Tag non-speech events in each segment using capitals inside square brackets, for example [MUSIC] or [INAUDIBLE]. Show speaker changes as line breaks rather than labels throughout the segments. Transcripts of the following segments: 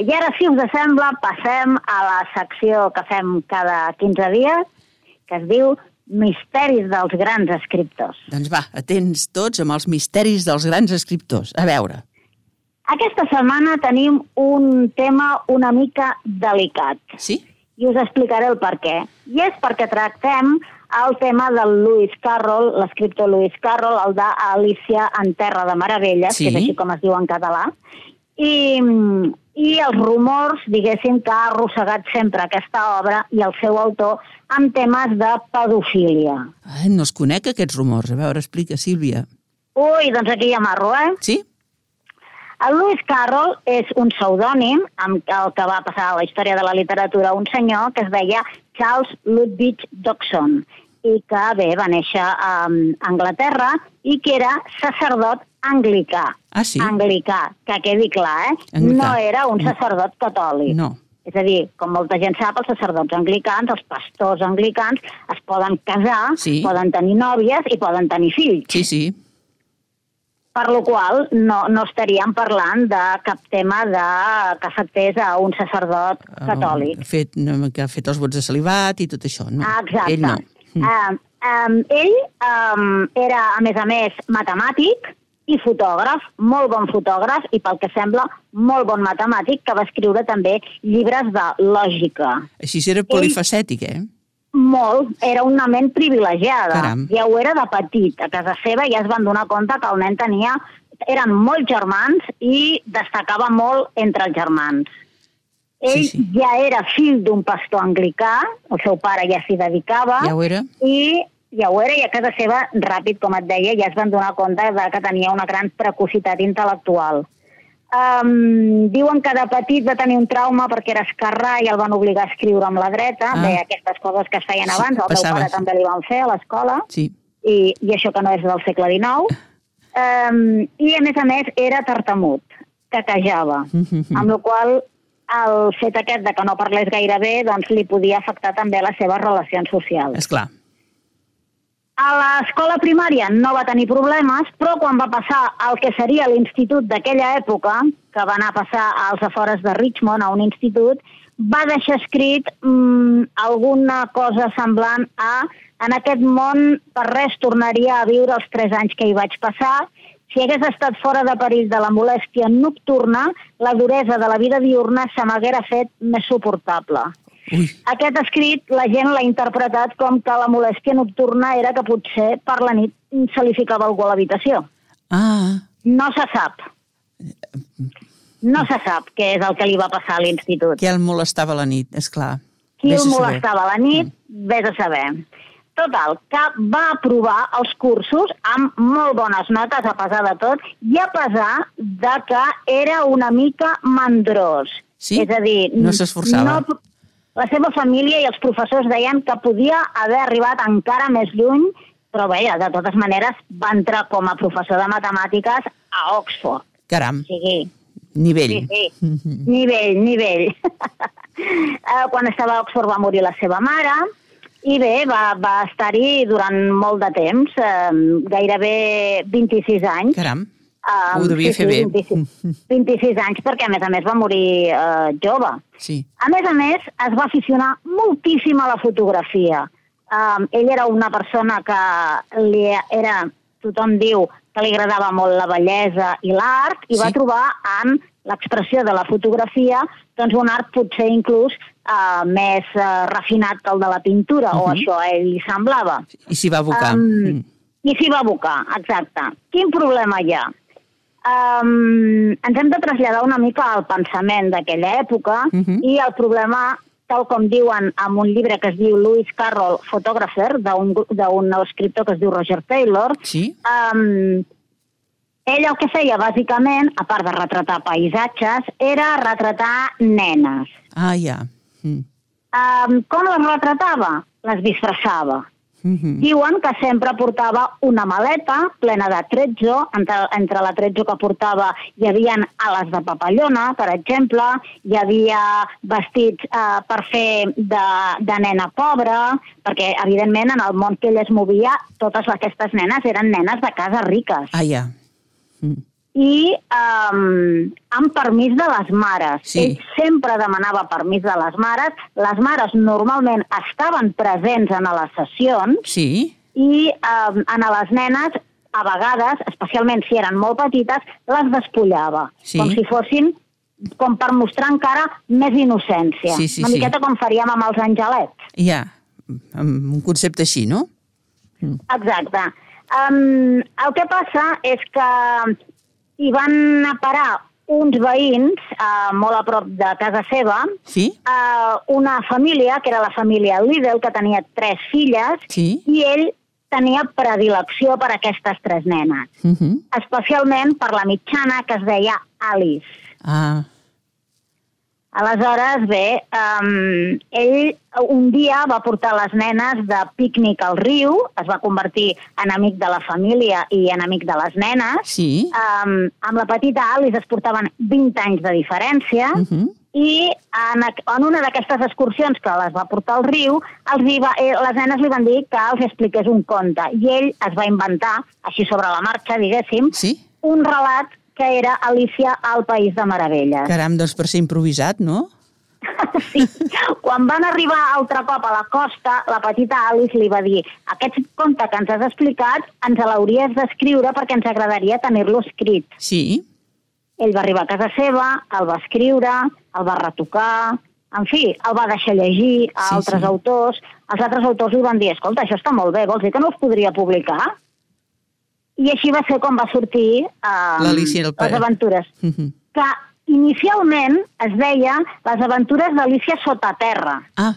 I ara, si us sembla, passem a la secció que fem cada 15 dies, que es diu Misteris dels grans escriptors.
Doncs va, atents tots amb els misteris dels grans escriptors. A veure.
Aquesta setmana tenim un tema una mica delicat
Sí?
i us explicaré el per què. I és perquè tractem el tema del Lewis Carroll, l'escriptor Lewis Carroll, el d'Alícia en Terra de Meravelles,
Sí.
que és així com es diu en català, i, i els rumors, diguéssim, que ha arrossegat sempre aquesta obra i el seu autor amb temes de pedofília.
Ai, no es conec aquests rumors. A veure, explica, Sílvia.
Ui, doncs aquí hi ha marro, eh?
Sí?
El Lewis Carroll és un pseudònim amb el que va passar a la història de la literatura un senyor que es deia Charles Ludwig Dodson i que bé, va néixer a um, Anglaterra i que era sacerdot anglicà.
Ah, sí?
Anglicà, que quedi clar, eh?
Anglicà.
No era un sacerdot catòlic.
No.
És a dir, com molta gent sap, els sacerdots anglicans, els pastors anglicans, es poden casar,
Sí.
poden tenir nòvies i poden tenir fills.
Sí, sí.
Per la qual cosa, no, no estaríem parlant de cap tema de que afectés a un sacerdot catòlic.
El Fet, Ah, no, que ha fet els vots de salivat i tot això. No.
Ah, Exacte.
Ell no. Mm.
Um, um, ell um, era, a més a més, matemàtic i fotògraf, molt bon fotògraf i, pel que sembla, molt bon matemàtic, que va escriure també llibres de lògica.
Així era polifacètic, eh?
Molt, era una ment privilegiada.
Caram.
Ja ho era de petit. A casa seva ja es van donar compte que el nen tenia... Eren molts germans i destacava molt entre els germans. Ell
Sí, sí.
ja era fill d'un pastor anglicà, el seu pare ja s'hi dedicava,
Ja ho era.
i ja ho era, i a casa seva, ràpid, com et deia, ja es van donar compte de que tenia una gran precocitat intel·lectual. Um, diuen que de petit va tenir un trauma perquè era esquerrà i el van obligar a escriure amb la dreta,
Ah.
ah. bé, aquestes coses que es feien
Sí,
abans, el
passava,
meu pare
sí.
també li van fer a l'escola,
Sí.
i, i això que no és del segle XIX, um, i a més a més era tartamut,
[LAUGHS]
caquejava, amb la qual el fet aquest de que no parlés gaire bé doncs li podia afectar també les seves relacions socials.
És clar.
A l'escola primària no va tenir problemes, però quan va passar al que seria l'institut d'aquella època, que va anar a passar als afores de Richmond, a un institut, va deixar escrit mm, alguna cosa semblant a en aquest món per res tornaria a viure els tres anys que hi vaig passar, si hagués estat fora de perill de la molèstia nocturna, la duresa de la vida diurna se m'haguera fet més suportable.
Ui,
Aquest escrit la gent l'ha interpretat com que la molèstia nocturna era que potser per la nit se li ficava algú a l'habitació.
ah,
No se sap. No se sap què és el que li va passar a l'institut.
que el molestava a la nit, és clar.
Qui
Vés a
el
saber. Mm.
molestava a la nit, vés a saber. Total, que va aprovar els cursos amb molt bones notes, a pesar de tot, i a pesar de que era una mica mandrós.
Sí?
És a dir...
No s'esforçava.
No, la seva família i els professors deien que podia haver arribat encara més lluny, però bé, de totes maneres va entrar com a professor de matemàtiques a Oxford.
Caram,
O sigui,
nivell.
Sí, sí.
Mm-hmm.
Nivell, nivell. [LAUGHS] Eh, Quan estava a Oxford va morir la seva mare i bé, va, va estar-hi durant molt de temps, eh, gairebé 26 anys.
Caram.
Eh,
Ho devia fer bé.
26, 26 anys, perquè a més a més va morir eh, jove.
Sí.
A més a més, es va aficionar moltíssim a la fotografia. Um, ell era una persona que li era, tothom diu, que li agradava molt la bellesa i l'art, i
Sí.
va trobar en l'expressió de la fotografia doncs un art potser inclús uh, més uh, refinat que el de la pintura, o això a ell li semblava.
I s'hi va abocar.
Um,
Um...
I s'hi va abocar, exacte. Quin problema hi ha? Um, ens hem de traslladar una mica al pensament d'aquella època
Mhm.
i el problema, tal com diuen en un llibre que es diu Lewis Carroll, Photographer, d'un gru- d'un escriptor que es diu Roger Taylor,
Sí?
um, ell el que feia, bàsicament, a part de retratar paisatges, era retratar nenes.
Ah, ja. Mm.
Um, com les retratava? Les disfressava.
Mhm.
Diuen que sempre portava una maleta plena de tretzo, entre, entre la tretzo que portava hi havia ales de papallona, per exemple, hi havia vestits eh, per fer de, de nena pobra, perquè evidentment en el món que ell es movia totes aquestes nenes eren nenes de casa riques.
Ah, ja. Mm.
i um, amb permís de les mares.
Sí.
Ell sempre demanava permís de les mares. Les mares normalment estaven presents en les sessions
Sí,
i um, en les nenes, a vegades, especialment si eren molt petites, les despullava,
Sí.
com si fossin com per mostrar encara més innocència.
Sí, sí,
Una
sí.
miqueta com faríem amb els angelets.
ja, amb un concepte així, no?
Exacte. Um, el que passa és que hi van anar a parar uns veïns uh, molt a prop de casa seva,
Sí?
uh, una família, que era la família Lidl, que tenia tres filles,
Sí.
i ell tenia predilecció per aquestes tres nenes,
Uh
especialment per la mitjana que es deia Alice.
Ah,
Aleshores, bé, um, ell un dia va portar les nenes de pícnic al riu, es va convertir en amic de la família i en amic de les nenes.
sí.
Um, amb la petita Alice es portaven 20 anys de diferència
Uh -huh.
i en, ac- en una d'aquestes excursions que les va portar al riu, els hi va, eh, les nenes li van dir que els expliqués un conte i ell es va inventar, així sobre la marxa, diguéssim,
Sí?
un relat que era Alicia al País de Meravelles.
Caram, doncs per ser improvisat, no?
Sí. Quan van arribar altre cop a la costa, la petita Alice li va dir aquest conte que ens has explicat ens l'hauries d'escriure perquè ens agradaria tenir-lo escrit.
Sí.
Ell va arribar a casa seva, el va escriure, el va retocar, en fi, el va deixar llegir a
Sí,
sí, altres
sí.
sí. autors. Els altres autors li van dir, escolta, això està molt bé, vols dir que no us podria publicar? I així va ser com va sortir eh,
L'Alícia i el Pere.
les aventures.
Uh -huh.
Que inicialment es deia les aventures d'Alícia sota terra
Ah,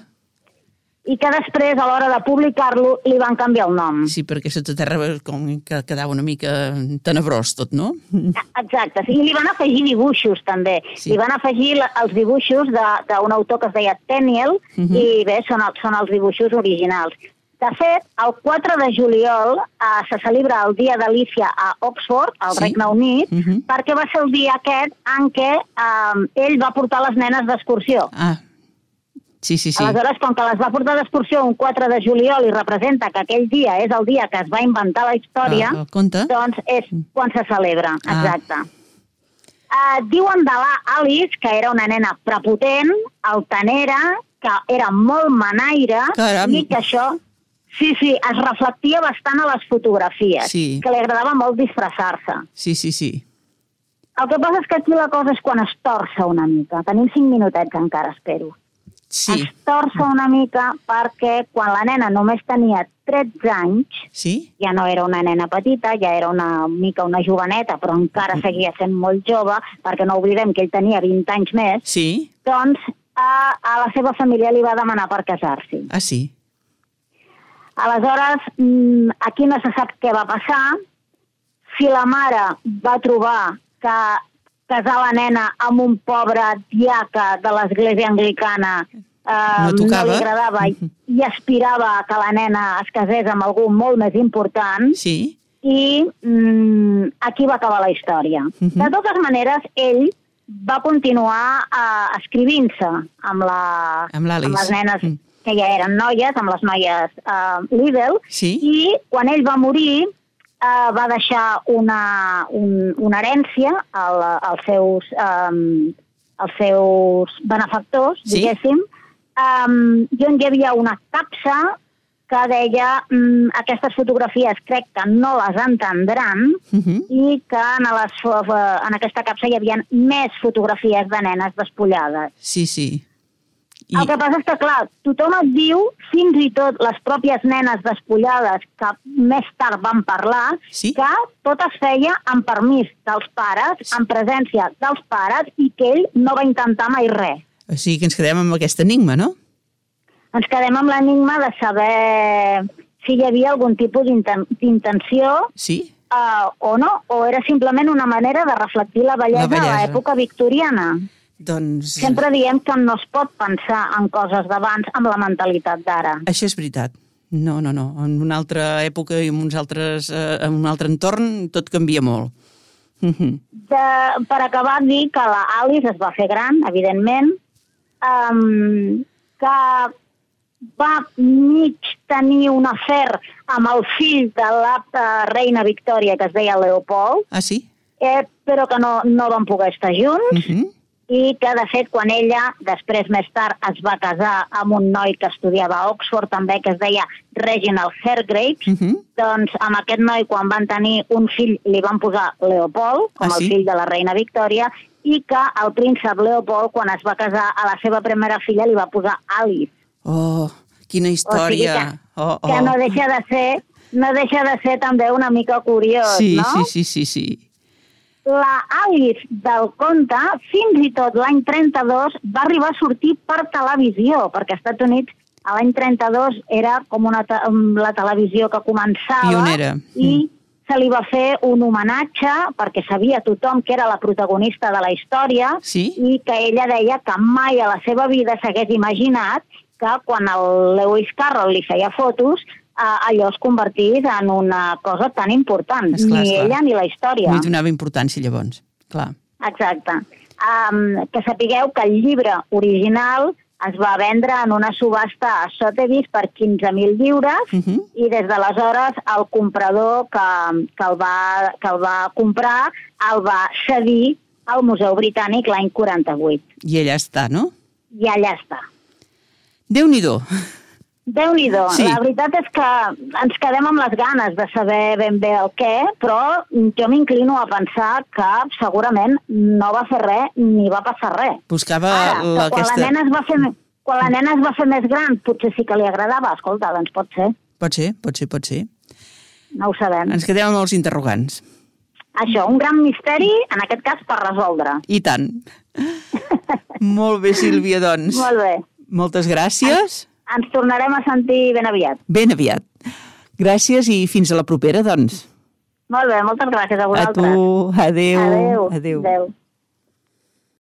i que després, a l'hora de publicar-lo, li van canviar el nom.
sí, perquè sota terra com que quedava una mica tenebrós tot, no?
Exacte, sí, i li van afegir dibuixos, també.
Sí.
Li van afegir la- els dibuixos de- d'un autor que es deia Teniel,
Mhm.
i bé, són, el, són els dibuixos originals. De fet, el 4 de juliol eh, se celebra el Dia d'Alícia a Oxford, al
Sí.
sí. Regne Unit,
Mhm.
perquè va ser el dia aquest en què eh, ell va portar les nenes d'excursió.
Ah, sí, sí, sí.
Aleshores, com que les va portar d'excursió un 4 de juliol i representa que aquell dia és el dia que es va inventar la història,
Ah, el conte.
doncs és quan se celebra,
Ah.
exacte. Uh, diuen de la Alice que era una nena prepotent, altanera, que era molt manaire
Caram.
i que això... Sí, sí, es reflectia bastant a les fotografies,
Sí.
que li agradava molt disfressar-se.
Sí, sí, sí.
El que passa és que aquí la cosa és quan es torça una mica. Tenim cinc minutets encara, espero
Sí,
es torça una mica perquè quan la nena només tenia 13 anys,
sí,
ja no era una nena petita, ja era una mica una joveneta, però encara seguia sent molt jove, perquè no oblidem que ell tenia 20 anys més,
sí.
doncs a, a la seva família li va demanar per casar-s'hi.
Ah, sí.
Aleshores, mm, aquí no se sap què va passar, si la mare va trobar que casar la nena amb un pobre diaca de l'església anglicana eh,
No tocava.
li agradava i, i aspirava que la nena es casés amb algú molt més important
Sí,
i mm, aquí va acabar la història.
Mhm.
De totes maneres, ell va continuar eh, escrivint-se amb, la,
Amb l'Alice.
amb les nenes
Mm.
que ja eren noies, amb les noies eh, Lidl,
Sí.
i quan ell va morir eh, va deixar una, un, una herència al, als, seus, eh, als seus benefactors,
Sí.
diguéssim, um, i on hi havia una capsa que deia mm, aquestes fotografies crec que no les entendran
Mhm.
i que en, les, fo- eh, en aquesta capsa hi havia més fotografies de nenes despullades.
sí, sí. I...
El que passa és que, clar, tothom et diu, fins i tot les pròpies nenes despullades que més tard van parlar,
Sí.
que tot es feia amb permís dels pares, en presència dels pares, i que ell no va intentar mai res.
O sigui que ens quedem amb aquest enigma, no?
ens quedem amb l'enigma de saber si hi havia algun tipus d'inten- d'intenció
Sí?
eh, o no, o era simplement una manera de reflectir la bellesa,
La
a
bellesa.
l'època victoriana.
Doncs
Sempre diem que no es pot pensar en coses d'abans amb la mentalitat d'ara.
això és veritat. No, no, no. En una altra època i en, uns altres, eh, en un altre entorn tot canvia molt. Mhm.
De, per acabar, dir que la Alice es va fer gran, evidentment, um, que va mig tenir un afer amb el fill de la eh, reina Victòria, que es deia Leopold,
ah, sí?
eh, però que no, no van poder estar junts,
Mhm.
uh -huh. i que, de fet, quan ella, després, més tard, es va casar amb un noi que estudiava a Oxford, també, que es deia Reginald Fairgrapes, uh
Mhm.
-huh. doncs amb aquest noi, quan van tenir un fill, li van posar Leopold, com
Ah,
el
sí?
fill de la reina Victòria, i que el príncep Leopold, quan es va casar, a la seva primera filla li va posar Alice.
Oh, quina història.
que,
oh, oh.
que no deixa de ser no deixa de ser també una mica curiós,
sí,
no?
sí, sí, sí, sí.
La Alice del conte, fins i tot l'any 32, va arribar a sortir per televisió, perquè als Estats Units a l'any 32 era com una te um, la televisió que començava
Pionera. Mm.
i se li va fer un homenatge perquè sabia tothom que era la protagonista de la història
Sí?
i que ella deia que mai a la seva vida s'hagués imaginat que quan el Lewis Carroll li feia fotos eh, allò es convertís en una cosa tan important,
És clar,
ni
és clar.
ella ni la història.
No hi donava importància, llavors. Clar.
Exacte. Um, que sapigueu que el llibre original es va vendre en una subhasta a Sotheby's per 15.000 lliures
Mhm.
i des d'aleshores el comprador que, que, el va, que el va comprar el va cedir al Museu Britànic l'any 48.
I allà està, no?
I allà està.
Déu-n'hi-do.
déu nhi
Sí.
sí. La veritat és que ens quedem amb les ganes de saber ben bé el què, però jo m'inclino a pensar que segurament no va fer res ni va passar res.
Buscava
Ara,
Ah, la,
que quan
aquesta...
la nena es va fer... me- Quan la nena es va fer més gran, potser sí que li agradava. Escolta, doncs pot ser,
Pot ser, pot ser, pot ser.
no ho sabem.
Ens quedem amb els interrogants.
Això, un gran misteri, en aquest cas, per resoldre.
I tant.
[LAUGHS]
Molt bé, Sílvia, doncs.
Molt bé.
Moltes gràcies.
Ens tornarem a sentir ben aviat.
Ben aviat. Gràcies i fins a la propera, doncs.
Molt bé, moltes gràcies a
A
vosaltres.
tu. Adéu.
Adéu. Adéu.